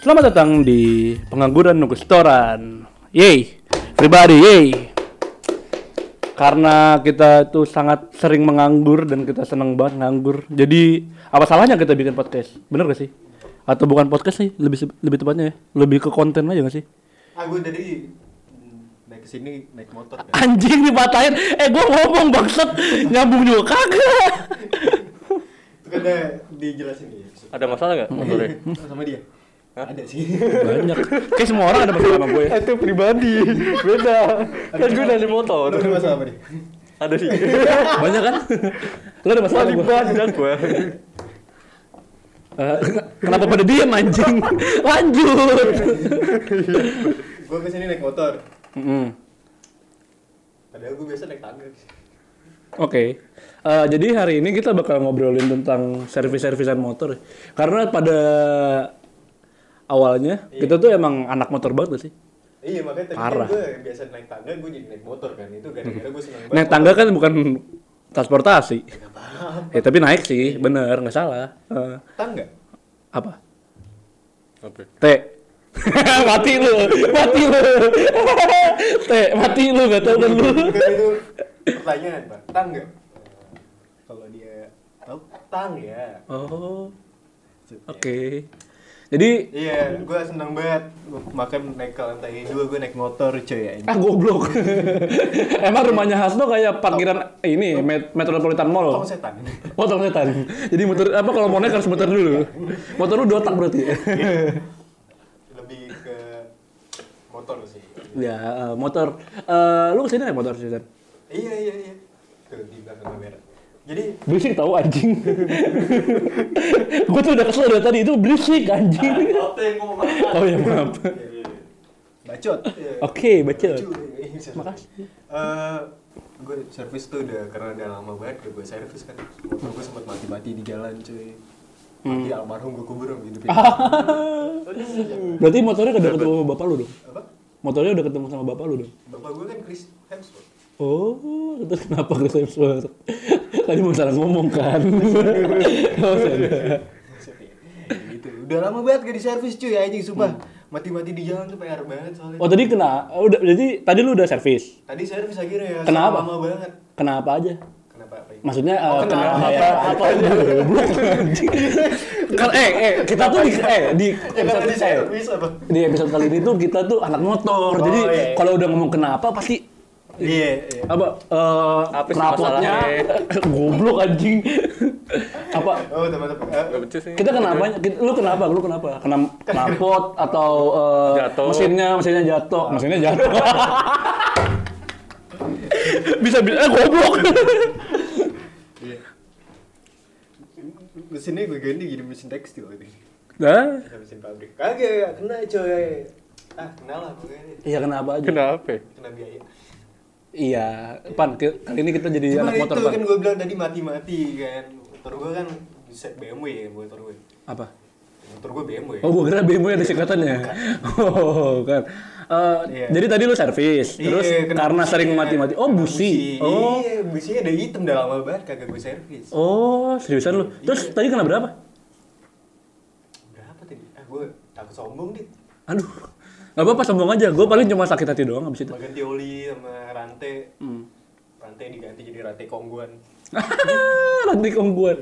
Selamat datang di pengangguran nunggu setoran. Yay, everybody, yay. Karena kita itu sangat sering menganggur dan kita seneng banget nganggur. Jadi apa salahnya kita bikin podcast? Bener gak sih? Atau bukan podcast sih, lebih lebih tepatnya ya, lebih ke konten aja gak sih? Ah gue dari Hmm, naik kesini naik motor kan. Anjing dipatahin, eh gua ngomong bangsat nyambung juga kagak. Itu kan ada dijelasin dia. Ada masalah nggak motornya? Mm-hmm. Sama dia. Ada sih. Banyak. Kayak semua orang ada masalah sama gue ya. Itu pribadi, beda. Kan gue dari motor. Lu ada masalah apa dia? Ada sih. Banyak kan? Lo ada masalah Paling sama gue? banyak gue. Eh, kenapa pada diem anjing? Lanjut. Gue kesini naik motor. Mm-mm. Padahal gue biasa naik tangga. Oke. Eh, jadi hari ini kita bakal ngobrolin tentang servis-servisan motor. Karena pada awalnya kita tuh emang anak motor banget gak sih. Iya makanya tadi Parah. kan gue yang biasa naik tangga gue jadi naik motor kan itu gara-gara gue seneng banget. Ah, Naik tangga kan bukan transportasi. Eh tapi naik sih, bener nggak salah. Eh, Tangga. apa? Apa? T. mati lu, mati lu. T, mati lu gak tau kan lu. Bukan itu pertanyaan pak. Tangga. Eh, Kalau dia tahu tang ya. Oh. Oke. Jadi Iya, gue seneng banget. Makan naik ke lantai dua, gue naik motor cuy ya. ah goblok. Emang rumahnya Hasno kayak parkiran ini Met- Metropolitan Mall. Tong setan. Oh, tong setan. Jadi muter apa kalau mau naik harus muter dulu. Motor lu dua tak berarti. ya? Lebih ke motor sih. ya, eh, motor. Eh, lu kesini naik motor sih, Tan? Iya iya iya. Tuh di belakang kamera. Jadi Berisik tahu anjing. Gue tuh udah kesel dari tadi itu berisik anjing. oh ya maaf. bacot. Iya. Oke, baca. Lucu, iya, iya, sorry. Eh, gue servis tuh udah karena udah lama banget gak gue servis kan. Motor gue sempat mati-mati di jalan cuy. Mati almarhum gue kubur om gitu. Berarti motornya udah ketemu sama bapak lu dong. Apa? Motornya udah ketemu sama bapak lu dong. Bapak gue kan Chris Hemsworth. Oh, terus kenapa Chris Hemsworth? Tadi mau salah ngomong kan? oh, sadar. Maksudnya, gitu. Udah lama banget gak diservis cuy anjing sumpah. Mati-mati di jalan tuh PR banget soalnya. oh tadi kena, udah jadi tadi lu udah servis. Tadi servis akhirnya ya. Kenapa? Lama banget. Kenapa aja? Kenapa apa ini? Maksudnya eh, Oh, kenapa? kenapa apa apa goblok anjing. Kan eh eh kita tuh di eh di Ya kan episode tadi eh, servis apa? di episode kali ini tuh kita tuh anak motor. Oh, Jadi iya. kalau udah ngomong kenapa pasti Iya, iya. apa eh Apa sih knalpotnya goblok anjing. apa Oh, teman-teman. Eh, Gak becus sih. kita kenapa lu kenapa lu kenapa kena knalpot atau eh, Jatuh. mesinnya mesinnya jatuh mesinnya jatuh bisa bisa eh, goblok Iya. Mesinnya gue ganti jadi mesin tekstil ini. nah Mesin pabrik. Kagak, kena coy. Ah, kenal lah pokoknya. iya kenapa aja Kenapa? Kena biaya. iya pan ke- kali ini kita jadi Cuma Iya, anak itu motor pan kan gue bilang tadi mati-mati kan. Motor gue kan bisa BMW ya, motor gue. apa Motor gue BMW. oh gua kira BMW ada singkatannya oh kan Eh, Iya. jadi tadi lu servis Iya, terus kena karena busi sering kan. mati-mati oh Kena busi oh Iya, businya ada hitam udah lama banget kagak gue servis. oh seriusan lu Iya. terus tadi kena berapa Berapa tadi? Ah, gue takut sombong dit. Aduh, nggak apa-apa sombong aja. Gue paling cuma sakit hati doang abis itu. Cuma ganti oli sama rantai. Rantai diganti jadi rantai kongguan. Ranti kongguan.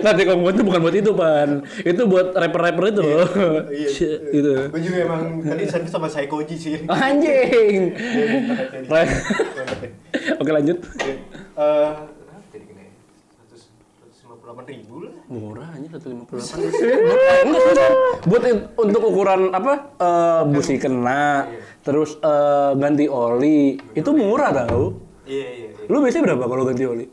Ranti kongguan itu bukan buat itu, Pan. Itu buat rapper-rapper itu loh. iya. Shit, gitu. Gue juga emang tadi servis sama Saikoji sih. Anjing. Dia minta rantai di- Right. Oke, lanjut. Oke. Eh, berapa jadi kena ya? 100 158 ribu lah. Murah aja 158. Enggak, enggak. Buat in- untuk ukuran apa? eh, busi kena, terus eh, ganti oli. Itu murah tau. Iya, iya, iya. Lu biasanya berapa kalau ganti oli?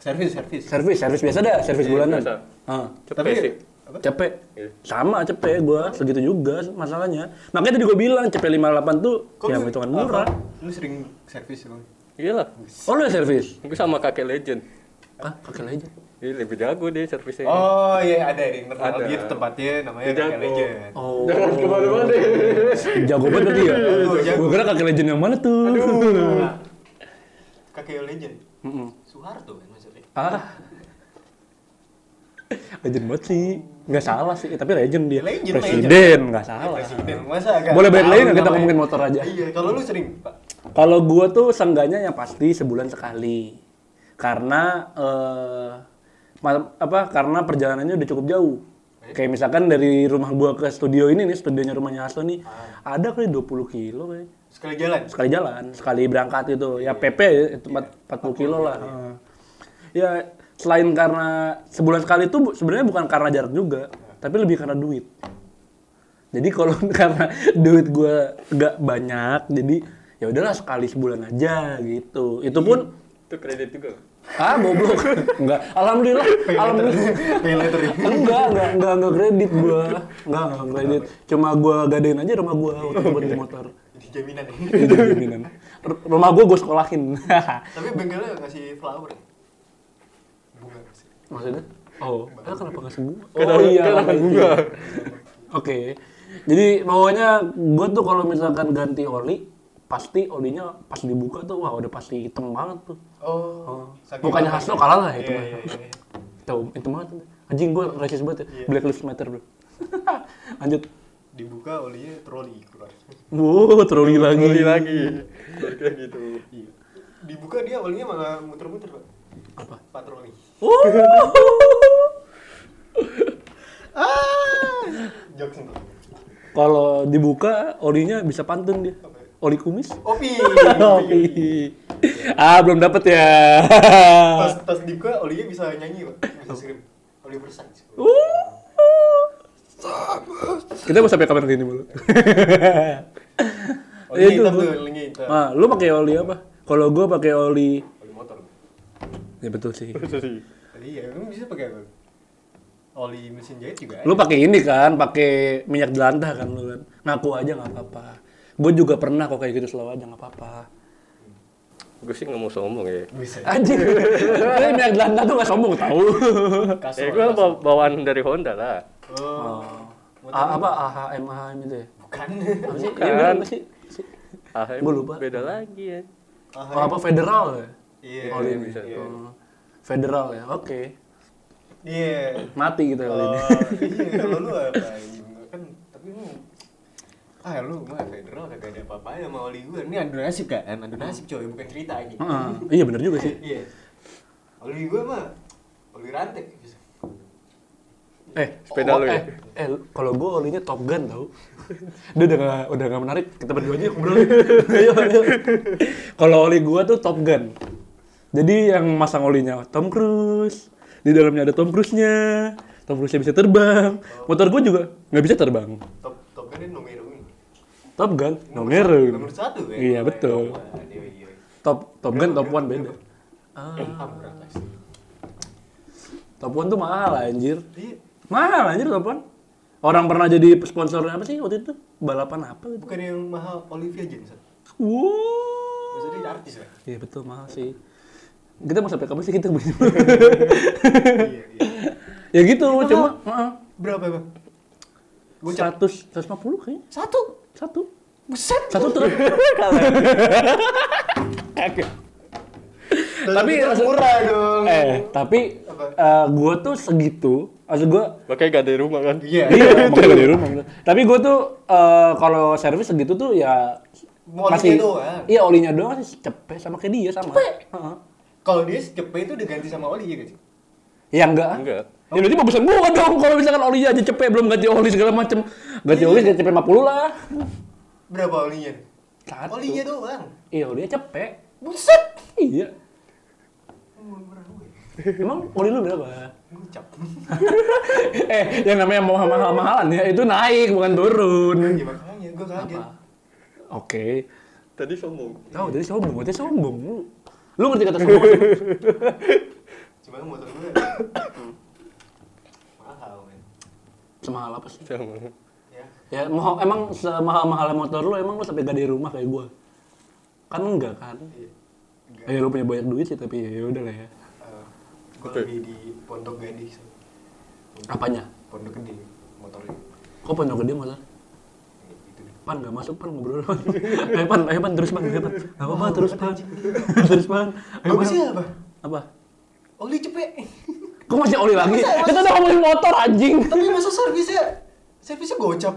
Servis, servis. Servis, servis biasa dah, servis bulanan. biasa. Ah. Cepet sih. apa? cepet Iya. sama cepet gua segitu juga masalahnya makanya tadi gua bilang cepet 58 tuh Kok ya lu- hitungan apa? murah Lu sering servis emang? Iyalah. oh lu yang servis Gue sama kakek legend. ah kakek aja Ini lebih jago deh servisnya. Oh iya ada yang terkenal Ada. dia tuh tempatnya namanya Dia Kakek jago. Legend. oh Jangan kemana-mana deh. jago banget berarti ya Jago, Oh, jago. gua kira kakek legend yang mana tuh Nah, Kakek Legend. Iya. Mm-mm. Soeharto kan maksudnya. ah legend banget sih Nggak salah sih, tapi legend dia. Legend, Presiden, legend. nggak salah. Presiden masa agak Boleh balik lagi nggak kita namanya. ngomongin motor aja? Iya, kalau lu sering, Pak. Kalau gua tuh seenggaknya yang pasti sebulan sekali. Karena eh ma- apa? Karena perjalanannya udah cukup jauh. Kayak misalkan dari rumah gua ke studio ini nih, studionya rumahnya Hasto nih, ada kali 20 kilo kali. Sekali jalan. Sekali jalan, sekali berangkat itu. Ya PP ya, Iya, itu empat- 40 kilo lah. Heeh. Ya selain karena sebulan sekali itu bu- sebenarnya bukan karena jarak juga, tapi lebih karena duit. Jadi kalau karena duit gua nggak banyak, jadi ya udahlah sekali sebulan aja gitu. Itu pun Itu kredit juga. ah goblok. Enggak. Alhamdulillah. Alhamdulillah. Pay later. Enggak, enggak, enggak, enggak kredit gua. Enggak, enggak kredit. Cuma gua gadein aja rumah gua waktu buat beli motor. Jadi jaminan ya. Itu jaminan. R- rumah gua gua sekolahin. Tapi bengkelnya ngasih flower ya? Bunga sih. Maksudnya? Oh, eh, kenapa nggak semua? Kenapa- kenapa makanya. bunga? Oke. Jadi pokoknya gue tuh kalau misalkan ganti oli, pasti olinya pas dibuka tuh wah udah pasti hitam banget tuh. Oh. saking Bukannya lama. Hasto kalah lah itu Iya, mah. iya, iya. Tuh, hitam banget. Anjing gue rasis banget ya. Black Lives Matter, Bro. Lanjut. Dibuka olinya troli keluar. Wow, troli lagi. gitu. Beli lagi. Balik lagi itu. Iya. Dibuka dia olinya malah muter-muter, Pak. Apa? Patroli. Jokes nih. Ah. Kalau dibuka olinya bisa pantun dia. Oli kumis. Opi. ah, belum dapet ya. Pas Ah. pas dibuka olinya bisa nyanyi, Pak. Bisa scream. Oliver Sykes. Oh, Kita mau sampai kapan gini mulu? Olinya Itu, hitam Bu. Oh, tuh, olinya hitam. Ah, lu pakai oli apa? Kalau gua pakai oli Oli motor. Ya betul sih. Terus sih. Iya, emang bisa pakai apa? Oli mesin jahit juga ada. Lu pakai ini kan, pakai minyak jelantah kan lu kan. Ngaku aja nggak apa-apa. Gua juga pernah kok kayak gitu selalu aja nggak apa-apa. Gue sih nggak mau sombong ya. Bisa. Anjing. Tapi minyak jelantah tuh nggak sombong tahu. Eh, Ya, Kasar. gue bawa- bawaan dari Honda lah. Oh. Ah. A- apa AHM AHM itu ya? Bukan. Apa sih? Bukan. Iya, bener apa sih? Si- Ah, Gua lupa. Beda lagi ya. Oh, apa federal ya? Ah, Iya. Oli ini. bisa. Iya. Oh, Federal ya. Oke. Iya. Mati gitu oli ini. Oh, iya, Kalau lu apa? Kan tapi lu Ah lu mah federal kagak ada apa-apa ya sama oli gue. Ini adu nasib kan? Adu nasib coy, bukan cerita ini. Heeh. Iya bener juga sih. Iya. Oli gue mah oli rantai. bisa. Eh, Sepeda lu ya? Eh, eh, kalau gue olinya Top Gun tau. Dia udah gak, udah gak menarik. Kita berdua aja ngobrol. Ayo, ayo. Kalau oli gue tuh Top Gun. Jadi yang masang olinya Tom Cruise. Di dalamnya ada Tom Cruise-nya. Tom Cruise-nya bisa terbang. Motor gue juga nggak bisa terbang. Top top kan ini nomor ini. Top Gun, Nomor nomor satu- Nomor satu kan? Iya, betul. Wah, Iya, iya. Top Top Gun, Top One beda. Ah, murah pasti. Top One tuh mahal anjir. Iya. Mahal anjir Top One. Orang pernah jadi sponsornya apa sih waktu itu? Balapan apa gitu? Bukan yang mahal Olivia Jensen. Wow. Maksudnya dia artis kan? Iya betul mahal sih. Kita mau sampai kapan sih kita beli? Iya, iya. ya gitu cuma heeh. Berapa bang? Gocap. 100 150 kayaknya. Satu. Satu. Buset. Satu truk. Kaget. Tapi Terus murah dong. eh, tapi eh, gua tuh segitu. Maksud gua Makanya gak ada di rumah kan. Iya. Iya, makanya di rumah. Tapi gua tuh eh, kalau servis segitu tuh ya Mau olinya masih doang. Iya, olinya doang sih cepet sama kayak dia sama. Heeh. Kalau dia cepet itu diganti sama oli ya gak sih? Ya enggak. Enggak. Ya berarti bagusan gua dong kalau misalkan oli aja cepet belum ganti oli segala macem ganti oli ganti cepet 50 lah Berapa olinya? Satu. Olinya doang. iya olinya cepet Buset. Oh, iya Murah gue. emang oli lu berapa Gocap. eh yang namanya mau mahal mahalan ya itu naik bukan turun Iya makanya gue kaget. oke Tadi sombong. tahu jadi sombong berarti sombong lu lu ngerti kata sombong nggak? Cuma kan motor Iya. gue. Mahal men. semahal apa sih Sama. Ya. ya mau emang semahal mahalnya motor lu emang lu sampai gak di rumah kayak gua kan enggak kan Iya. Enggak. Eh, lu punya banyak duit sih tapi ya udah lah ya Eh, Gue Oke. lagi di Pondok Gadis. apanya Pondok Gede motornya. kok pondok gede motor Gitu. Pan gak masuk pan ngobrol Ayo pan, ayo pan terus pan, ayo pan Gak apa-apa terus pan Terus pan Ayo, Pan. Bagusnya apa? Apa? Oli ya, cepet. Kok masih oli lagi? Masa- Kita udah ngomongin motor anjing. Tapi masa servisnya servisnya gocap.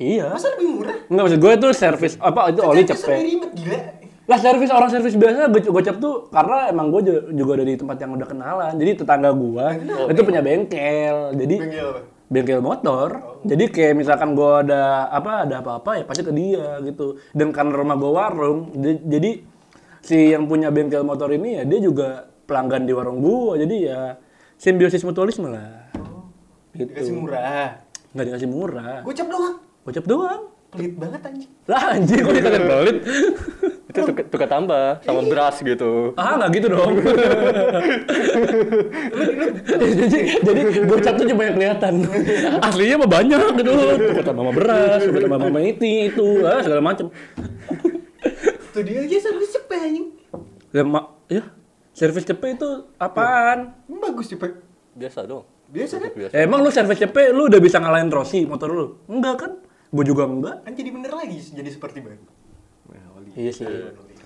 Iya. Masa lebih murah? Kan Enggak maksud gue itu servis apa itu oli Servisnya cepet. ribet gila. Lah servis orang servis biasa go- gocap tuh karena emang gue ju- juga dari tempat yang udah kenalan. Jadi tetangga gue itu punya bengkel. Jadi Bengkel apa? bengkel motor. Jadi kayak misalkan gue ada apa ada apa-apa ya pasti ke dia gitu. Dan karena rumah gue warung, di- jadi si yang punya bengkel motor ini ya dia juga pelanggan di warung gue. Jadi ya simbiosis mutualisme lah. Dikasih Gitu. murah. Nggak dikasih murah. Gocap doang. Gocap doang. Pelit banget anjing. Lah anjing kok dikasih pelit. Itu tukar, tukar tambah sama beras gitu. Ah nggak gitu dong. jadi jadi gocap tuh cuma yang kelihatan. Aslinya mah banyak gitu. Kata mama beras, kata mama mama itu, itu, ah, segala macam. Tuh dia aja servis cepet anjing. Ya, ma- ya servis cepet itu apaan? Ini Hmm, Bagus cepet. Biasa dong. Biasa kan? Biasa. Emang lu servis cepet lu udah bisa ngalahin Rossi motor lu? Enggak kan? Gue juga enggak. Kan jadi bener lagi jadi seperti baru. Nah, oli. Iya sih.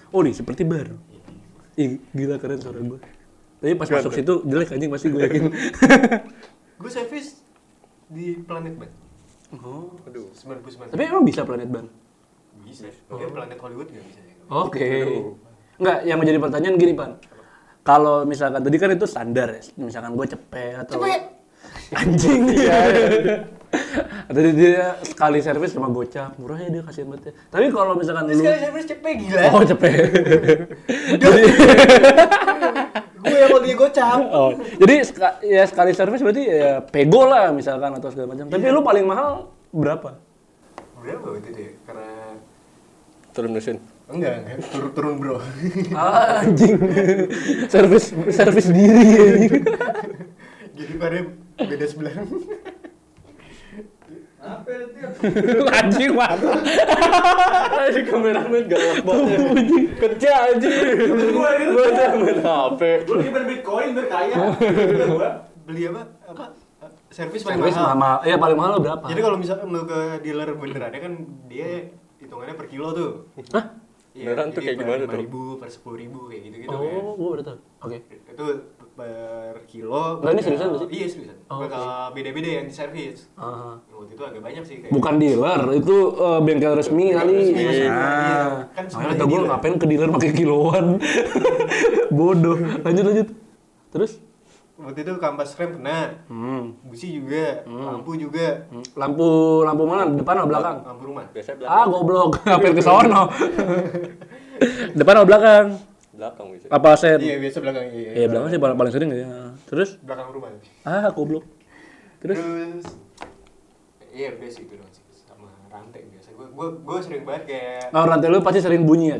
Oh nih seperti baru. Ih, gila keren suara gue. Tapi pas masuk situ jelek anjing pasti gue yakin. Gue servis di planet ban. oh. Aduh, 99. Tapi emang bisa planet ban? bisa. Mungkin planet Hollywood nggak bisa. ya? Oke. Enggak, Oh, gitu. yang menjadi pertanyaan gini, Pan. Kalau misalkan tadi kan itu standar ya, misalkan gue cepet atau Cepet. anjing. Tadi dia sekali servis sama gocap, murah ya dia kasihan banget ya. Tapi kalau misalkan Terus lu sekali servis cepet gila. Oh, cepet. jadi, Gue yang mau dia gocap. oh. jadi seka- ya sekali servis berarti ya pego lah misalkan atau segala macam. Iya. Tapi lu paling mahal berapa? Berapa waktu itu ya? Karena Turun mesin. enggak, enggak. Turun, turun bro. Ah, anjing. servis servis diri anjing. jadi pada beda sebelah. anjing mah. Anjing kameramen galak banget. ya. Kerja anjing. Gua aja main HP. Ini berbitcoin berkaya. Oh. Beli apa? Apa? Servis paling Servis mahal. mahal. Ya paling mahal lu berapa? Jadi kalau misalnya mau ke dealer benerannya kan dia hitungannya per kilo tuh. Hah? Iya, Beneran tuh jadi kayak gimana per tuh? ribu, per sepuluh ribu kayak gitu gitu kan. Oh, gua udah tahu. Oke. Itu per kilo. Lah, Oh, ini seriusan nggak sih? Iya seriusan. Oh, Bakal beda-beda ya, yang di servis. Ah. Waktu itu agak banyak sih kayak. Bukan dealer, itu eh, bengkel resmi kali. resmi, Iya. iya. Kan Kan sebenarnya kata gue dealer. ngapain ke dealer pakai kiloan. Bodoh. Lanjut lanjut. Terus? Waktu itu kampas rem pernah. Hmm. Busi juga, lampu juga, Lampu lampu mana? Depan atau belakang? lampu rumah. Biasanya belakang. Ah, goblok. Ngapain ke sono? Depan atau belakang? Belakang biasanya. Apa sen? Iya, biasa belakang. Iya, iya. Iya, belakang sih paling, paling sering ya. Terus? Belakang rumah. Ah, goblok. Terus? Terus Iya, biasa itu doang sih. Sama rantai biasa. Gue gue gue sering banget kayak Oh, rantai lu pasti sering bunyi ya?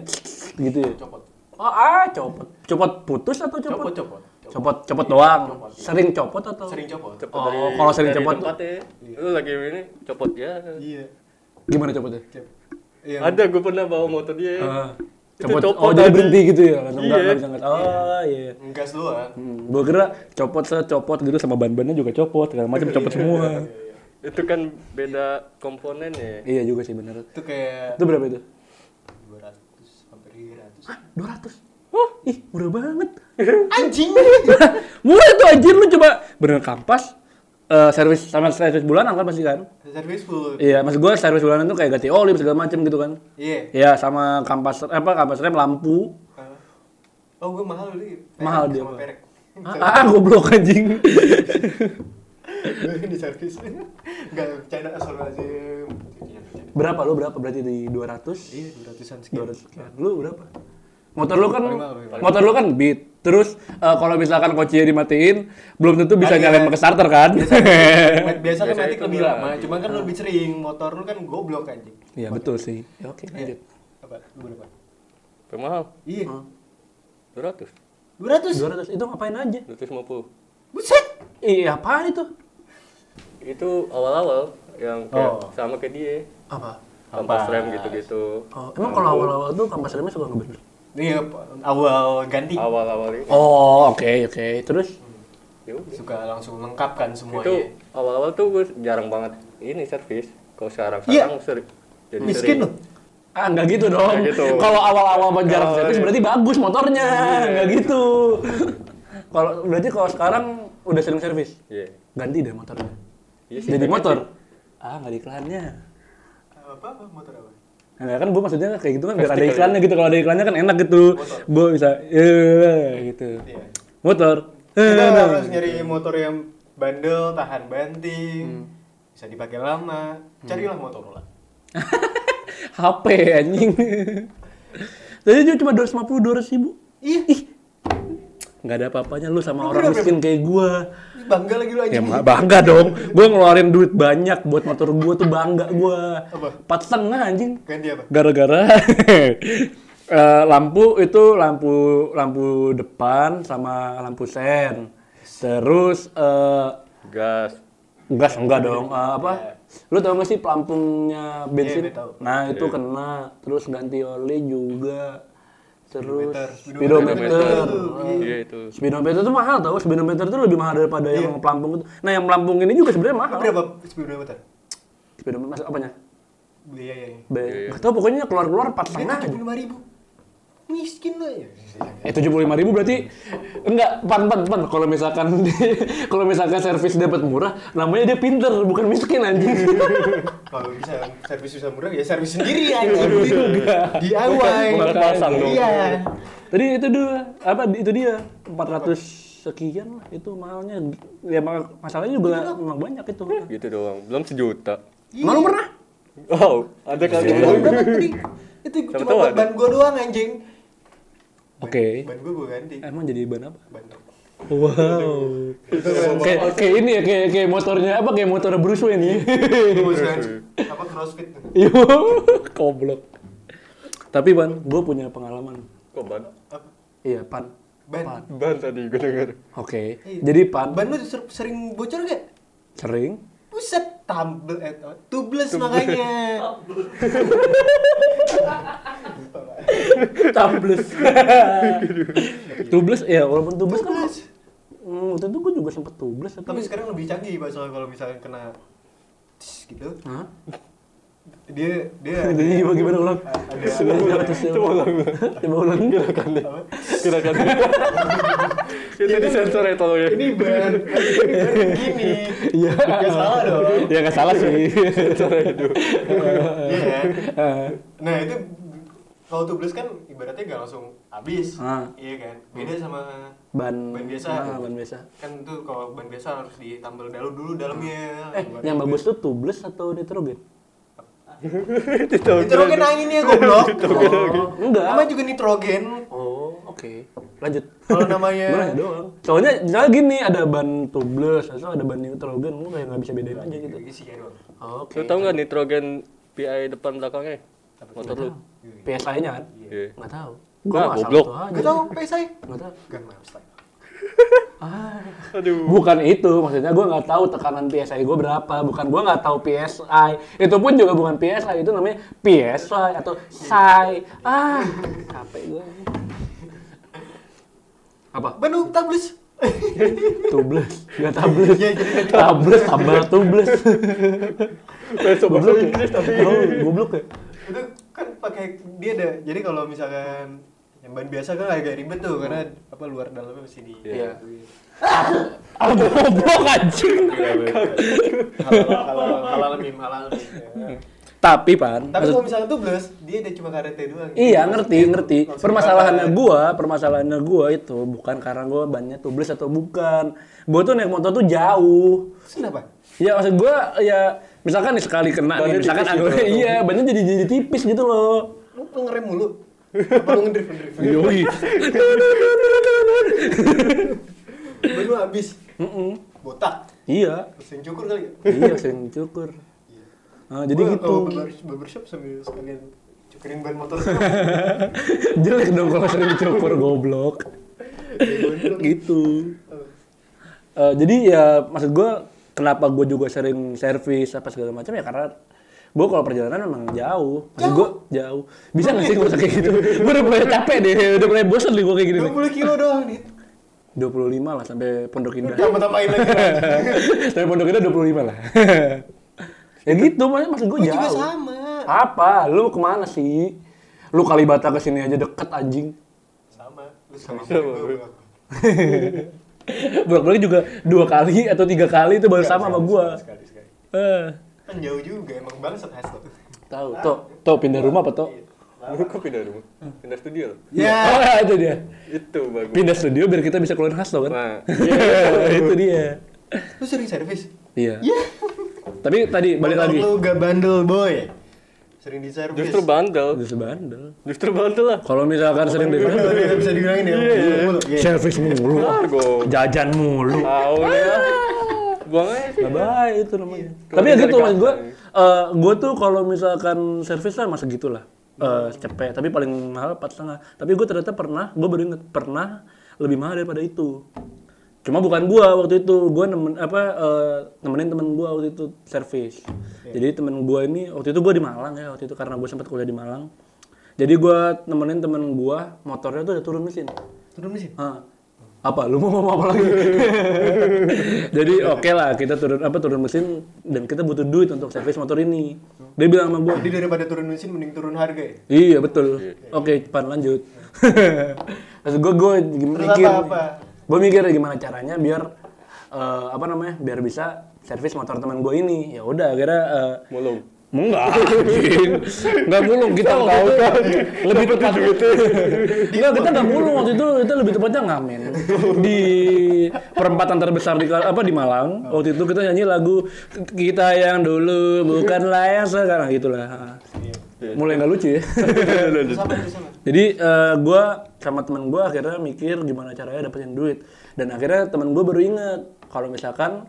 Gitu ya? copot. Oh, ah, copot. Copot putus atau copot? Copot, copot. Copot, copot doang. Sering copot atau? Sering copot. Cepet Oh, dari- kalau sering dari cepet tempat ya. Lu lagi ini copot ya. Iya. Gimana copotnya? Cep- Iya. Ada gua pernah bawa motor dia. Ah, Itu copot. copot Oh, jadi tadi. berhenti gitu ya? Langsung Iya. nggak nggak bisa ngeliat. Oh, iya. Ngegas doang. Hmm, gua kira copot secopot gitu sama ban-bannya juga copot, segala macam copot semua. Itu kan beda komponen ya. iya juga sih bener. Itu kayak Itu berapa itu? 200 hampir 300. 200. Oh, ih murah banget. Anjing. murah tuh anjir lu coba bener kampas eh, servis sama servis bulanan kan pasti kan? Servis full. Iya, maksud gua servis bulanan tuh kayak ganti oli segala macam gitu kan. Iya. Iya, sama kampas apa kampas rem lampu. Ah. Oh, gue mahal dulu. Perek Mahal dia, sama Bang. perek. Ah, ah, goblok anjing. Gue di servis. Enggak bercanda asal lazim. berapa lu berapa berarti di 200? Iya, 200-an sekian. 200 sekian. Lu berapa? Motor lu kan Paling mahal, paling mahal. motor lu kan beat. Terus eh, kalau misalkan kocinya dimatiin, belum tentu bisa Kan, nyalain iya. pakai starter kan? Biasa- biasa kan Biasanya nanti itu lebih murah. lama, cuman kan lebih sering motor lu kan goblok anjing. Iya. Iya, betul sih. Ya, oke, lanjut. Apa? Lu berapa? Paling mahal Iya. Hmm. 200, 200 200. itu ngapain aja? 250. Buset. Iya, apaan itu? Itu awal-awal yang kayak Oh. sama kayak dia. Apa? Kampas rem gitu-gitu. Oh, Nah, emang kalau awal-awal tuh kampas remnya suka ngebener? Iya, awal ganti Awal-awal itu. Oh, oke, oke. Terus? Ya udah. suka langsung kan lengkapkan iya. semuanya. itu awal-awal tuh gue jarang banget ini servis kalau sekarang Iya. sekarang sering jadi Miskin sering. lu. Ah, nggak gitu dong. Nggak gitu. Kalau iya. awal-awal buat jarak Kalau- servis berarti bagus motornya. Nggak gitu. Kalau berarti kalau sekarang udah sering servis, Iya. ganti deh motornya. Iya sih, Jadi tapi- motor. Ah, nggak ada iklannya. Apa apa motor apa? Nah, kan gue maksudnya kayak gitu kan biar ada Pasti kali. iklannya gitu. Kalau ada iklannya kan enak gitu. Gue bisa eh gitu. Iya. Motor. Eh, Kita nah. harus nyari motor yang bandel, tahan banting, bisa dipakai lama. Carilah Motorola. HP anjing. Tadi dia cuma 250 200 ribu. Ih, Nggak ada apa-apanya lu sama Lu orang berapa? miskin kayak gua. bangga lagi lu Ya anjing. ma- bangga dong. Gua ngeluarin duit banyak buat motor gua tuh bangga gua. Apa? Empat setengah anjing. Ganti apa? Gara-gara eh, lampu itu lampu lampu depan sama lampu sen. Terus eh, Gas. gas enggak dong Eh, apa? Lu tau gak sih pelampungnya bensin? Iya, gue tahu. nah itu kena. Terus ganti oli juga. Terus Speedometer. speedometer. Iya itu. Speedometer itu mahal tau, speedometer itu lebih mahal daripada yang pelampung itu. Nah yang pelampung ini juga sebenarnya mahal. Berapa speedometer? Speedometer masuk apanya? Biayanya. B. Gak tau pokoknya keluar-keluar empat Ini setengah. tujuh puluh ribu. Miskin lu ya. Eh tujuh puluh ribu berarti enggak pan pan pan. Kalau misalkan di- kalau misalkan servis dapat murah, namanya dia pinter bukan miskin anjing. Kalau bisa servis susah murah ya servis sendiri anjing. DIY. Bukan pasang dong. Iya. Tadi itu dua apa itu dia empat ratus sekian lah itu mahalnya. Ya maka- masalahnya juga memang banyak itu. Gitu doang. Belum sejuta. Malu pernah? Wow, ada kali. Itu berapa tadi? Itu Siapa cuma tahu buat ada. ban gua doang anjing. Oke. Ban gua gua ganti. Emang jadi ban apa? Ban. Wow. Itu kayak kayak ini ya kayak kayak motornya apa kayak motor Bruce Wayne ya. apa crossfit Yo, goblok. Tapi Pan, gue punya pengalaman. Kok ban? Iya, Pan. ban Ban tadi gue denger. Oke. Iya. Jadi Pan ban lu ser- sering bocor gak? sering Buset, tumble eh tubles makanya. tubles. tubles ya, walaupun tubles kan Tubles. Hmm, waktu itu gue juga sempet tubles tapi, Tapi sekarang lebih canggih Pak soal kalau misalnya kena tis gitu. Hah? Dia dia Jadi gimana gimana ulang? Coba ulang, coba ulang. Coba ulang. kan. Gerakan. Itu di sensor ya tolong ya. ini ban ini ban begini. Iya. Gak salah dong. Ya nggak salah sih. Iya kan? Nah itu kalau tubles kan ibaratnya gak langsung habis, Ah. iya kan? Beda sama Ban Ban biasa. Ah, ban biasa. kan tuh kalau ban biasa harus ditambal dulu dulu dalamnya. Eh, Ibaratnya- yang bagus tuh tubles atau nitrogen? Nitrogen anginnya goblok. Oh. Enggak. Namanya juga nitrogen. Oh, oke. Lanjut. Kalau namanya- Boleh doang. Soalnya misalnya gini ada ban tubeless, atau ada ban nitrogen, lu kayak nggak bisa bedain aja gitu. Isi kayak doang. Oh, Oke. Lu tau nggak nitrogen PI depan belakangnya? Motor lu. PSI-nya kan? Iya. Nggak tahu. Nggak, Gua asal goblok. tahu aja. Gak tau, PSI. Nggak tahu. Gangnam Style. Aduh. Bukan itu, maksudnya gua nggak tahu tekanan PSI gua berapa, bukan gua nggak tahu PSI. Itu pun juga bukan PSI, itu namanya PSI atau SI. Ah, capek gua. Apa? Bandung Tablis. Tubles, nggak tables. Iya, jadi nggak Tables, tambah tubles. Besok bahasa Goblok ya? Inggris tapi. Oh, goblok ya? itu kan pakai dia ada. Jadi kalau misalkan yang ban biasa kan agak ribet tuh karena apa luar dalamnya masih di. Iya. Ah, goblok anjing. Iya, Halal halal halal mim halal mim. Tapi, Pan. Tapi Hmm. maksud- kalau misalkan Tablis, dia ada cuma karetnya doang. Iya, ngerti, ngerti. Langsung Permasalahannya dibakar. gua, permasalahannya gua itu bukan karena gua bannya tubles atau bukan. Gua tuh naik motor tuh jauh. Terus Kenapa? Ya maksud gua ya misalkan nih sekali kena nih, Bannya misalkan tipis anggota gitu. iya, bannya jadi jadi tipis gitu loh. Lu pengerem mulu. Apa lu ngedrift ngedrift? Yoi. Ban lu habis. Botak. iya, Terus yang cukur kali ya? iya sering cukur. Nah, jadi Gua oh, gitu. kalau barber- barbershop sambil sekalian cukurin ban motor Jelek dong kalau sering cukur goblok. Iya, gitu. Oh. Eh, jadi ya maksud gue kenapa gue juga sering servis apa segala macam ya karena gue kalau perjalanan memang jauh. Maksud gue jauh. Bisa nggak sih gue kayak gitu? gue udah mulai capek deh, udah mulai bosen nih gue kayak gini. nih. 20 kilo doang nih 25 lah sampai Pondok Indah. tambah tambahin lagi sampai Pondok Indah 25 lah. ya gitu mak- maksud gue Gua juga jauh. sama Apa? Lu kemana sih? Lu Kalibata ke sini aja deket anjing. sama lu sama Sama. gua. bolak balik juga dua kali atau tiga kali itu baru sama sama Sekali, gua Sekali, sekali. eh Kan jauh juga, emang bangsat Hasto. tahu tuh tuh pindah rumah apa tuh Baru kok pindah rumah? Pindah studio loh. Ya. oh itu dia Itu bagus. pindah studio biar kita bisa keluarin khas kan Nah, itu dia Lu sering servis? iya tapi tadi balik lagi Lu gak bandel, boy. Sering di servis. justru bandel. Justru bandel. Justru bandel lah. Kalau misalkan sering di Bandel ya, bisa dibilangin ya. Mulu, iya. servis mulu, Argo. jajan mulu. Tahu ya. Buang aja sih. Nah, baik itu namanya. Iya. Tapi ya gitu Keluar dari mas kasta, gue, iya. eh gue tuh kalau misalkan servis lah masa gitulah eh cepet. Tapi paling mahal empat setengah. Tapi gue ternyata pernah, gue baru inget pernah lebih mahal daripada itu. Cuma bukan gue waktu itu, gue nemen apa eh, nemenin temen gue waktu itu servis. Jadi temen gue ini waktu itu gue di Malang ya waktu itu karena gue sempat kuliah di Malang. Jadi gue nemenin temen gue motornya tuh udah turun mesin. Turun mesin. Hah. apa lu mau ngomong apa lagi jadi oke lah kita turun apa turun mesin dan kita butuh duit untuk servis motor ini dia bilang sama Jadi gue daripada turun mesin mending turun harga ya. iya betul oke pan lanjut terus gue gue mikir apa-apa? gue mikir gimana caranya biar eh, apa namanya biar bisa servis motor teman gue ini ya udah akhirnya eh, Mulung. Enggak, anjing. enggak mulung kita tahu kan. Lebih tepat Enggak, kita enggak mulung waktu itu, kita lebih tepatnya ngamen. Di perempatan terbesar di Kal- apa di Malang, waktu itu kita nyanyi lagu kita yang dulu bukan layak sekarang gitulah. Mulai nggak lucu ya. Terus apa terus apa? Jadi eh, gua sama temen gua akhirnya mikir gimana caranya dapetin duit dan akhirnya temen gua baru inget kalau misalkan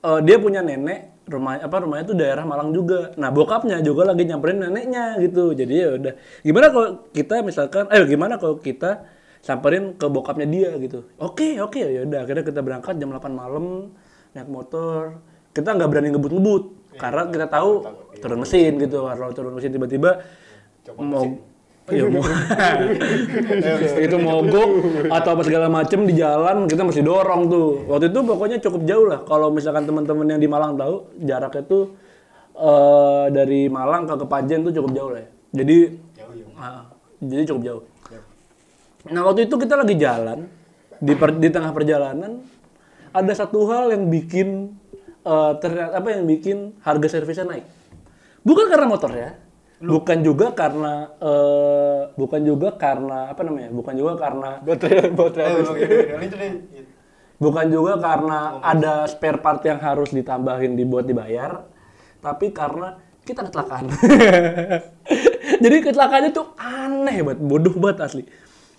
eh, dia punya nenek rumah apa rumahnya tuh daerah Malang juga. Nah bokapnya juga lagi nyamperin neneknya gitu. Jadi ya udah gimana kalau kita misalkan eh gimana kalau kita samperin ke bokapnya dia gitu. Oke oke ya udah akhirnya kita berangkat jam 8 malam naik motor. Kita nggak berani ngebut-ngebut karena kita tahu turun mesin gitu. Kalau turun mesin tiba-tiba mau Iya mau itu mogok atau apa segala macem di jalan kita masih dorong tuh. Waktu itu pokoknya cukup jauh lah. Kalau misalkan teman-teman yang di Malang tahu jaraknya tuh eh, dari Malang ke Kepajen tuh cukup jauh lah. Ya. Jadi Ah, jadi cukup jauh. Nah waktu itu kita lagi jalan di per- di tengah perjalanan ada satu hal yang bikin eh, ternyata apa yang bikin harga servisnya naik. Bukan karena motornya, bukan juga karena eh, bukan juga karena apa namanya? Bukan juga karena Baterai baterai. Eh, oke, oke, lanjut deh. bukan juga karena ada spare part yang harus ditambahin dibuat dibayar, tapi karena kita kecelakaan. Jadi kecelakaannya tuh aneh banget, bodoh banget asli.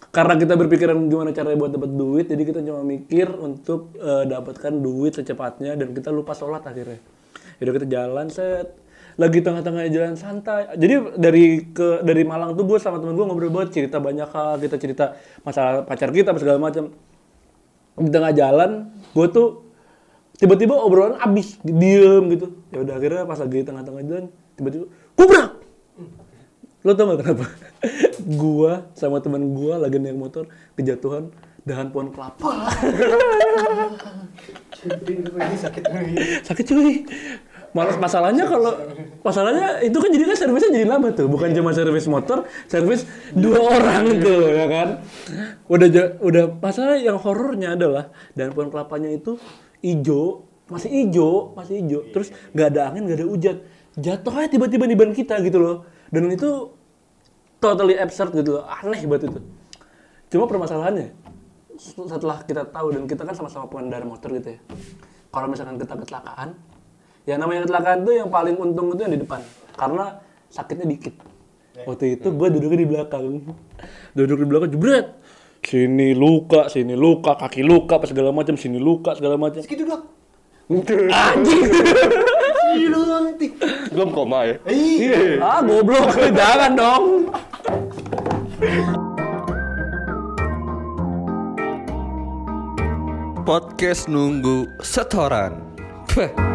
Karena kita berpikiran gimana caranya buat dapat duit, jadi kita cuma mikir untuk eh, dapatkan duit secepatnya dan kita lupa sholat akhirnya. Jadi kita jalan set, lagi tengah-tengah jalan santai. Jadi dari ke dari Malang tuh gue sama temen gue ngobrol banget cerita banyak hal, kita cerita masalah pacar kita apa segala macam di tengah jalan gue tuh tiba-tiba obrolan abis diem gitu ya udah akhirnya pas lagi di tengah-tengah jalan tiba-tiba kubrak lo tau gak kenapa gua sama teman gua lagi naik motor kejatuhan dahan pohon kelapa Ini sakit lagi. sakit cuy malah masalahnya kalau masalahnya itu kan jadi kan servisnya jadi lama tuh bukan cuma servis motor servis dua orang tuh ya kan udah ja- udah masalah yang horornya adalah dan pohon kelapanya itu ijo masih ijo masih ijo terus nggak ada angin nggak ada hujan jatuh aja tiba-tiba di ban kita gitu loh dan itu totally absurd gitu loh aneh banget itu cuma permasalahannya setelah kita tahu dan kita kan sama-sama pengendara motor gitu ya kalau misalkan kita kecelakaan ya namanya kecelakaan tuh yang paling untung itu yang di depan karena sakitnya dikit waktu itu gue duduknya di belakang duduk di belakang jebret sini luka sini luka kaki luka apa segala macam sini luka segala macam Segitu dok. anjing Iya lu nanti. Belum koma ya. Iya. ah goblok jangan dong Podcast nunggu setoran. Peh.